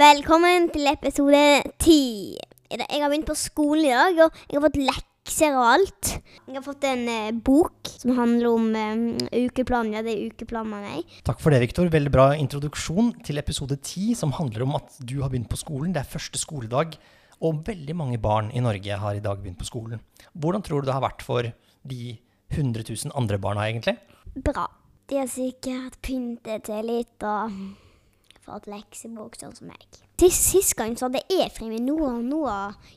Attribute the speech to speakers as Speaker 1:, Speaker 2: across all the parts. Speaker 1: Velkommen til episode ti. I dag- Jeg har begynt på skolen i dag, og jeg har fått lekser og alt. Jeg har fått en eh, bok som handler om eh, ukeplan. Ja, det er ukeplan, mener jeg.
Speaker 2: Takk for det, Viktor. Veldig bra introduksjon til episode 10, som handler om at du har begynt på skolen. Det er første skoledag, og veldig mange barn i Norge har i dag begynt på skolen. Hvordan tror du det har vært for de 100 000 andre barna, egentlig?
Speaker 1: Bra. De har sikkert pyntet seg litt og fått leksebok, sånn som meg. Til sist gang så hadde jeg fri, men nå, nå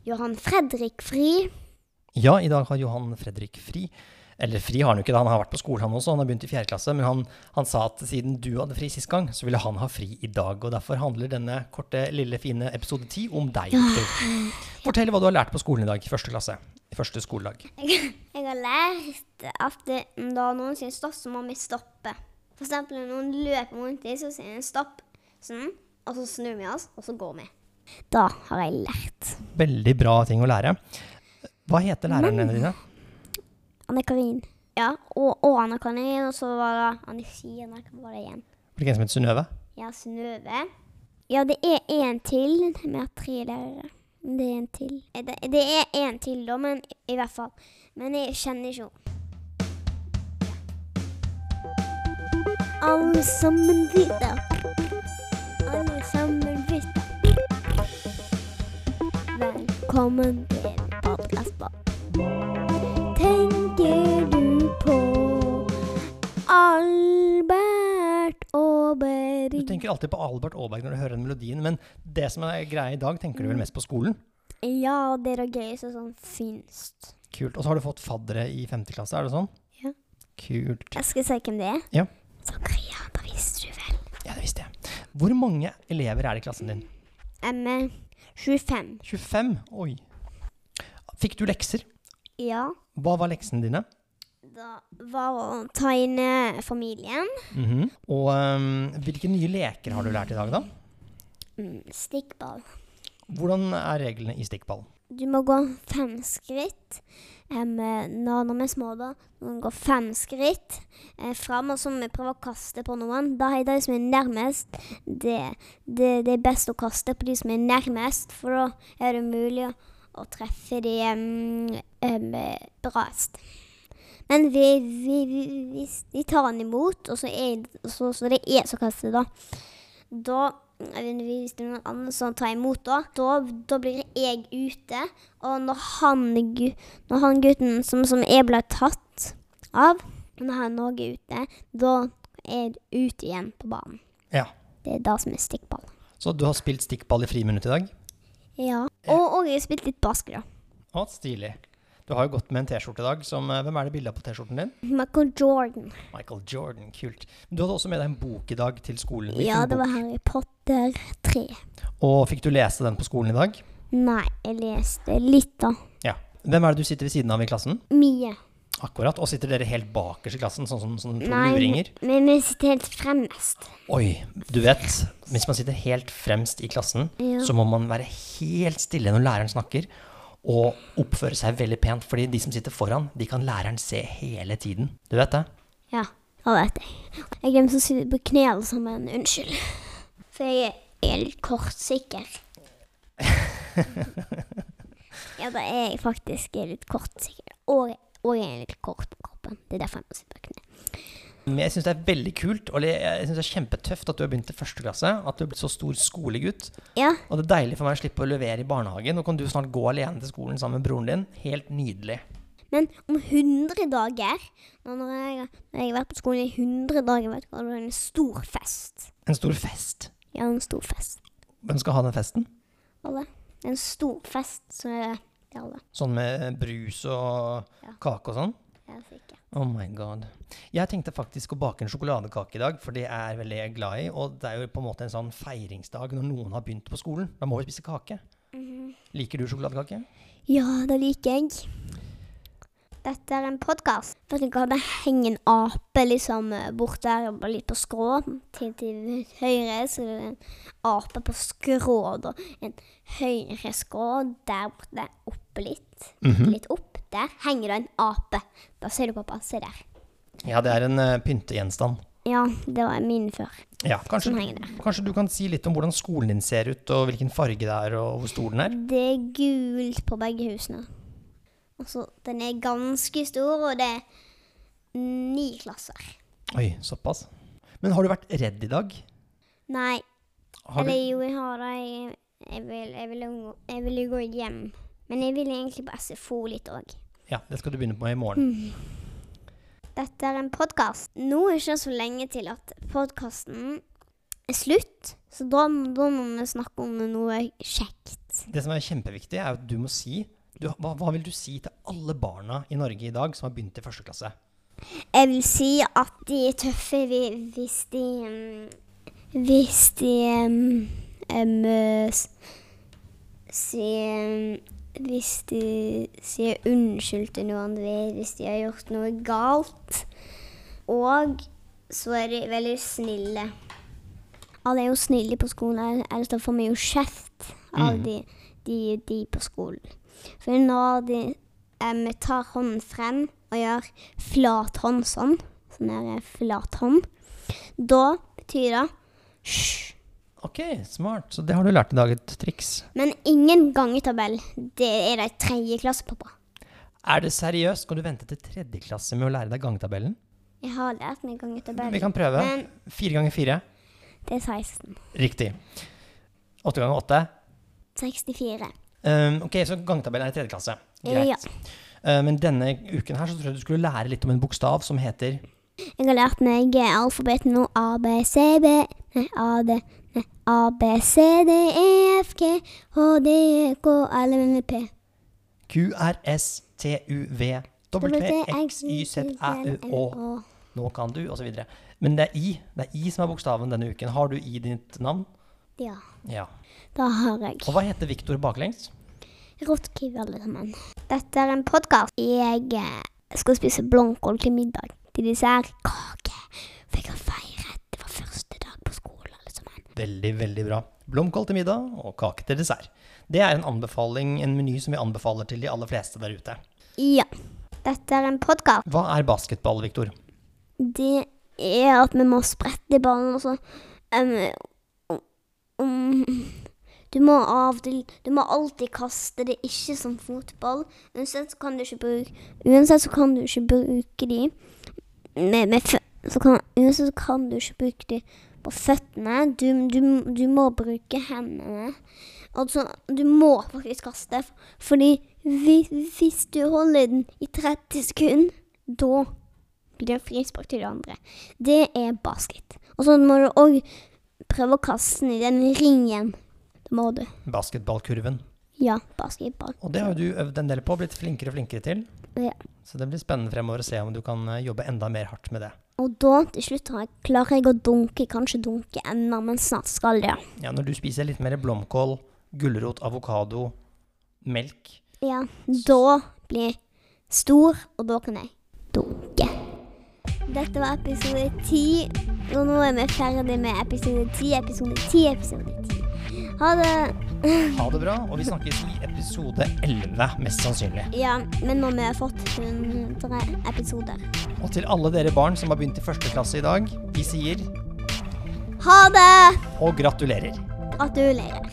Speaker 1: gjør han Fredrik fri.
Speaker 2: Ja, i dag har Johan Fredrik fri. Eller fri har han jo ikke, da. han har vært på skolen han også, han har begynt i fjerde klasse. Men han, han sa at siden du hadde fri sist gang, så ville han ha fri i dag. Og derfor handler denne korte, lille, fine episode 10 om deg. Victor. Fortell hva du har lært på skolen i dag, i første klasse. i Første skoledag.
Speaker 1: Jeg har lært at det- når noen sier stopp, så må vi stoppe. For eksempel når noen løper rundt i, så sier de stopp, sånn, og så snur vi oss, og så går vi. Da har jeg lært.
Speaker 2: Veldig bra ting å lære. Hva heter lærerne dine?
Speaker 1: Anne Karin. Ja, og, og Anne Karin, og så var det Anne Sina, hva var det igjen?
Speaker 2: Var det ikke en som het Synnøve?
Speaker 1: Ja, Synnøve. Ja, det er en til. Vi har tre lærere. Men Det er en til. Eh, Det, det er en til, da, men i hvert fall. Men jeg kjenner ikke henne. Alle sammen gutter. Alle sammen gutter. Velkommen til Podkastbar. Tenker du på Albert
Speaker 2: Du
Speaker 1: Aaberg?
Speaker 2: tenker alltid på Albert Aaberg når du hører den melodien, men det som er greia i dag, tenker du vel mest på skolen?
Speaker 1: Ja, det er det gøyeste som sånn finst.
Speaker 2: Kult. Og så har du fått faddere i femte klasse, er det sånn?
Speaker 1: Ja.
Speaker 2: Kult.
Speaker 1: Jeg skal si hvem det er.
Speaker 2: Ja.
Speaker 1: Zakaria, da visste du vel.
Speaker 2: Ja, det visste jeg. Hvor mange elever er det i klassen din?
Speaker 1: Emme, 25.
Speaker 2: 25? Oi. Fikk du lekser?
Speaker 1: Ja.
Speaker 2: Hva var leksene dine?
Speaker 1: Da var å tegne familien.
Speaker 2: Mhm. Og øhm, hvilke nye leker har du lært i dag, da?
Speaker 1: Mm, stikkball.
Speaker 2: Hvordan er reglene i stikkball?
Speaker 1: Du må gå fem skritt. eh, Emme, når vi er små, da, må vi gå fem skritt eh, fram, og så må vi prøve å kaste på noen. Da er de som er nærmest, det, det, det er best å kaste på de som er nærmest, for da er det mulig å, å treffe de em, em, brast. Men vi, vi, vi, hvis de tar den imot, og så, er, så, så det er som kaster, da, da jeg vet ikke, hvis det er noen andre som tar imot, da, da, da blir jeg ute. Og når han, gu- når han gutten som, som jeg ble tatt av, når han også er ute, da er jeg ute igjen på banen.
Speaker 2: Ja.
Speaker 1: Det er det som er stikkball.
Speaker 2: Så du har spilt stikkball i friminuttet i dag?
Speaker 1: Ja. Og, og jeg har spilt litt basket, da.
Speaker 2: Å, stilig. Du har jo gått med en T-skjorte i dag. Som, øh, hvem er det bildet av på T-skjorten din?
Speaker 1: Michael Jordan.
Speaker 2: Michael Jordan, kult. Men Du hadde også med deg en bok i dag til skolen. Hvilken
Speaker 1: Ja, det var
Speaker 2: bok?
Speaker 1: Harry Potter 3.
Speaker 2: Og fikk du lese den på skolen i dag?
Speaker 1: Nei, jeg leste litt, da.
Speaker 2: Ja. Hvem er det du sitter ved siden av i klassen?
Speaker 1: Mye.
Speaker 2: Akkurat. Og sitter dere helt bakerst i klassen, sånn som sånn, to
Speaker 1: Nei,
Speaker 2: luringer?
Speaker 1: men vi sitter helt fremmest.
Speaker 2: Oi, du vet, hvis man sitter helt fremst i klassen,
Speaker 1: Ja.
Speaker 2: så må man være helt stille når læreren snakker, og oppføre seg veldig pent, fordi de som sitter foran, de kan læreren se hele tiden. Du vet det?
Speaker 1: Ja, det vet jeg. Jeg glemte å sitte på kne alle sammen. Unnskyld. For jeg er litt kortsikker. ja, da er jeg faktisk litt kortsikker. Og, og jeg er litt kort på kroppen. Det er derfor jeg må sitte på kne.
Speaker 2: Men jeg syns det er veldig kult, og jeg jeg synes det er kjempetøft at du har begynt i første klasse, at du er blitt så stor skolegutt.
Speaker 1: Ja,
Speaker 2: Og det er deilig for meg å slippe å levere i barnehagen. Nå kan du snart gå alene til skolen sammen med broren din. Helt nydelig.
Speaker 1: men om 100 dager, når jeg, når jeg har vært på skolen i 100 dager, vet du hva, da er det en stor fest.
Speaker 2: En stor fest.
Speaker 1: Ja, en stor fest.
Speaker 2: Hvem skal ha den festen?
Speaker 1: Alle. En stor fest, så er det til alle.
Speaker 2: Sånn med brus og
Speaker 1: Ja.
Speaker 2: kake og sånn?
Speaker 1: Jeg er sikker.
Speaker 2: Oh my god. Jeg tenkte faktisk å bake en sjokoladekake i dag, for det er jeg veldig glad i. Og det er jo på en måte en sånn feiringsdag når noen har begynt på skolen. Da må vi spise kake.
Speaker 1: Mhm.
Speaker 2: Liker du sjokoladekake?
Speaker 1: Ja, det liker jeg. Dette er en podkast. Vet du hva, det henger en ape liksom bort der, og litt på skrå. Til, til høyre så er det en ape på skrå, da. En høyre skrå der borte, oppe litt. Litt opp. Der henger det en ape. Da ser du, pappa. Se der.
Speaker 2: Ja, det er en eh, pyntegjenstand.
Speaker 1: Ja, det var min før.
Speaker 2: Ja, kanskje,
Speaker 1: Som henger der.
Speaker 2: kanskje du kan si litt om hvordan skolen din ser ut, og hvilken farge det er, og hvor stor den er?
Speaker 1: Det er gult på begge husene. Og så, den er ganske stor, og det er ni klasser.
Speaker 2: Oi, såpass. Men har du vært redd i dag?
Speaker 1: Nei,
Speaker 2: Har du,
Speaker 1: eller jo, jeg har det. Jeg, jeg, vil, jeg, vil, unngå- jeg vil jo gå hjem. Men jeg vil egentlig på SFO litt òg.
Speaker 2: ja, det skal du begynne på i morgen.
Speaker 1: Dette er en podkast. Nå er det ikke så lenge til at podkasten er slutt, så da, da må vi snakke om noe kjekt.
Speaker 2: Det som er kjempeviktig, er at du må si du, hva, hva vil du si til alle barna i Norge i dag som har begynt i første klasse?
Speaker 1: Jeg vil si at de er tøffe vi- hvis de mm, Hvis de mm, em, eh, s- sier mm, Hvis de sier unnskyld til noen vi- hvis de har gjort noe galt. Og så er de veldig snille. Alle er jo snille på skolen, ellers da får vi jo kjeft av
Speaker 2: Mm.
Speaker 1: de, de, de på skolen. For når de em, tar hånden frem og gjør flat hånd sånn, sånn her flat hånd, da betyr det hysj.
Speaker 2: Ok, smart. Så det har du lært i dag, et triks.
Speaker 1: Men ingen gangetabell. Det er det i tredje klasse, pappa.
Speaker 2: Er det seriøst? Skal du vente til tredje klasse med å lære deg gangetabellen?
Speaker 1: Jeg har lært meg gangetabell.
Speaker 2: Vi kan prøve.
Speaker 1: Men-
Speaker 2: Fire ganger fire.
Speaker 1: Det er 16.
Speaker 2: Riktig. Åtte ganger åtte.
Speaker 1: 64.
Speaker 2: Um, ok, så gangetabellen er i tredje klasse. Greit.
Speaker 1: Ja.
Speaker 2: Uh, men denne uken her så tror jeg du skulle lære litt om en bokstav som heter
Speaker 1: Jeg har lært meg alfabetet nå. A, B, C, B Nei, A, D Nei, A, B, C, D, E, F, G H, D, E, K, L, M, N, P
Speaker 2: QRSTUV. WXYZÆØÅ. Nå kan du, osv. Men det er I Det er I som er bokstaven denne uken. Har du I ditt navn?
Speaker 1: Ja,
Speaker 2: Ja.
Speaker 1: da har jeg
Speaker 2: Og hva heter Viktor baklengs?
Speaker 1: rotkiv alle sammen. Dette er en podkast. Jeg eh, skal spise blomkål til middag. Til dessert kake. For jeg har feiret. Det var første dag på skolen, alle sammen.
Speaker 2: Veldig, veldig bra. Blomkål til middag og kake til dessert. Det er en anbefaling, en meny som vi anbefaler til de aller fleste der ute.
Speaker 1: Ja. Dette er en podkast.
Speaker 2: Hva er basketball, Viktor?
Speaker 1: Det er at vi må sprette ballen og så em, om- om- Du må av og til Du må alltid kaste det, ikke som fotball. Uansett så kan du ikke bruke Uansett så kan du ikke bruke de med, med fø- så kan, Uansett så kan du ikke bruke de på føttene. Du, du, du må bruke hendene. Altså, du må faktisk kaste, fordi hvis, hvis du holder den i 30 sekunder, da blir det frispark til de andre. Det er basket. Og så må du òg prøve å kaste den i den ringen. Det må du.
Speaker 2: Basketballkurven.
Speaker 1: Ja, basketball.
Speaker 2: Og det har jo du øvd en del på og blitt flinkere og flinkere til.
Speaker 1: Ja.
Speaker 2: Så det blir spennende fremover å se om du kan eh, jobbe enda mer hardt med det.
Speaker 1: Og da, til slutt, har jeg, klarer jeg å dunke. Kanskje dunke ennå, men snart skal det.
Speaker 2: Ja, når du spiser litt mer blomkål, gulrot, avokado, melk
Speaker 1: Ja, da blir jeg stor, og da kan jeg dunke. Dette var episode ti, og nå er vi ferdig med episode ti, episode ti, episode ti. Ha det.
Speaker 2: Ha det bra, og vi snakkes i episode 11, mest sannsynlig.
Speaker 1: Ja, men nå har vi fått 100 episoder.
Speaker 2: Og til alle dere barn som har begynt i første klasse i dag, vi sier
Speaker 1: Ha det!
Speaker 2: og gratulerer.
Speaker 1: Gratulerer.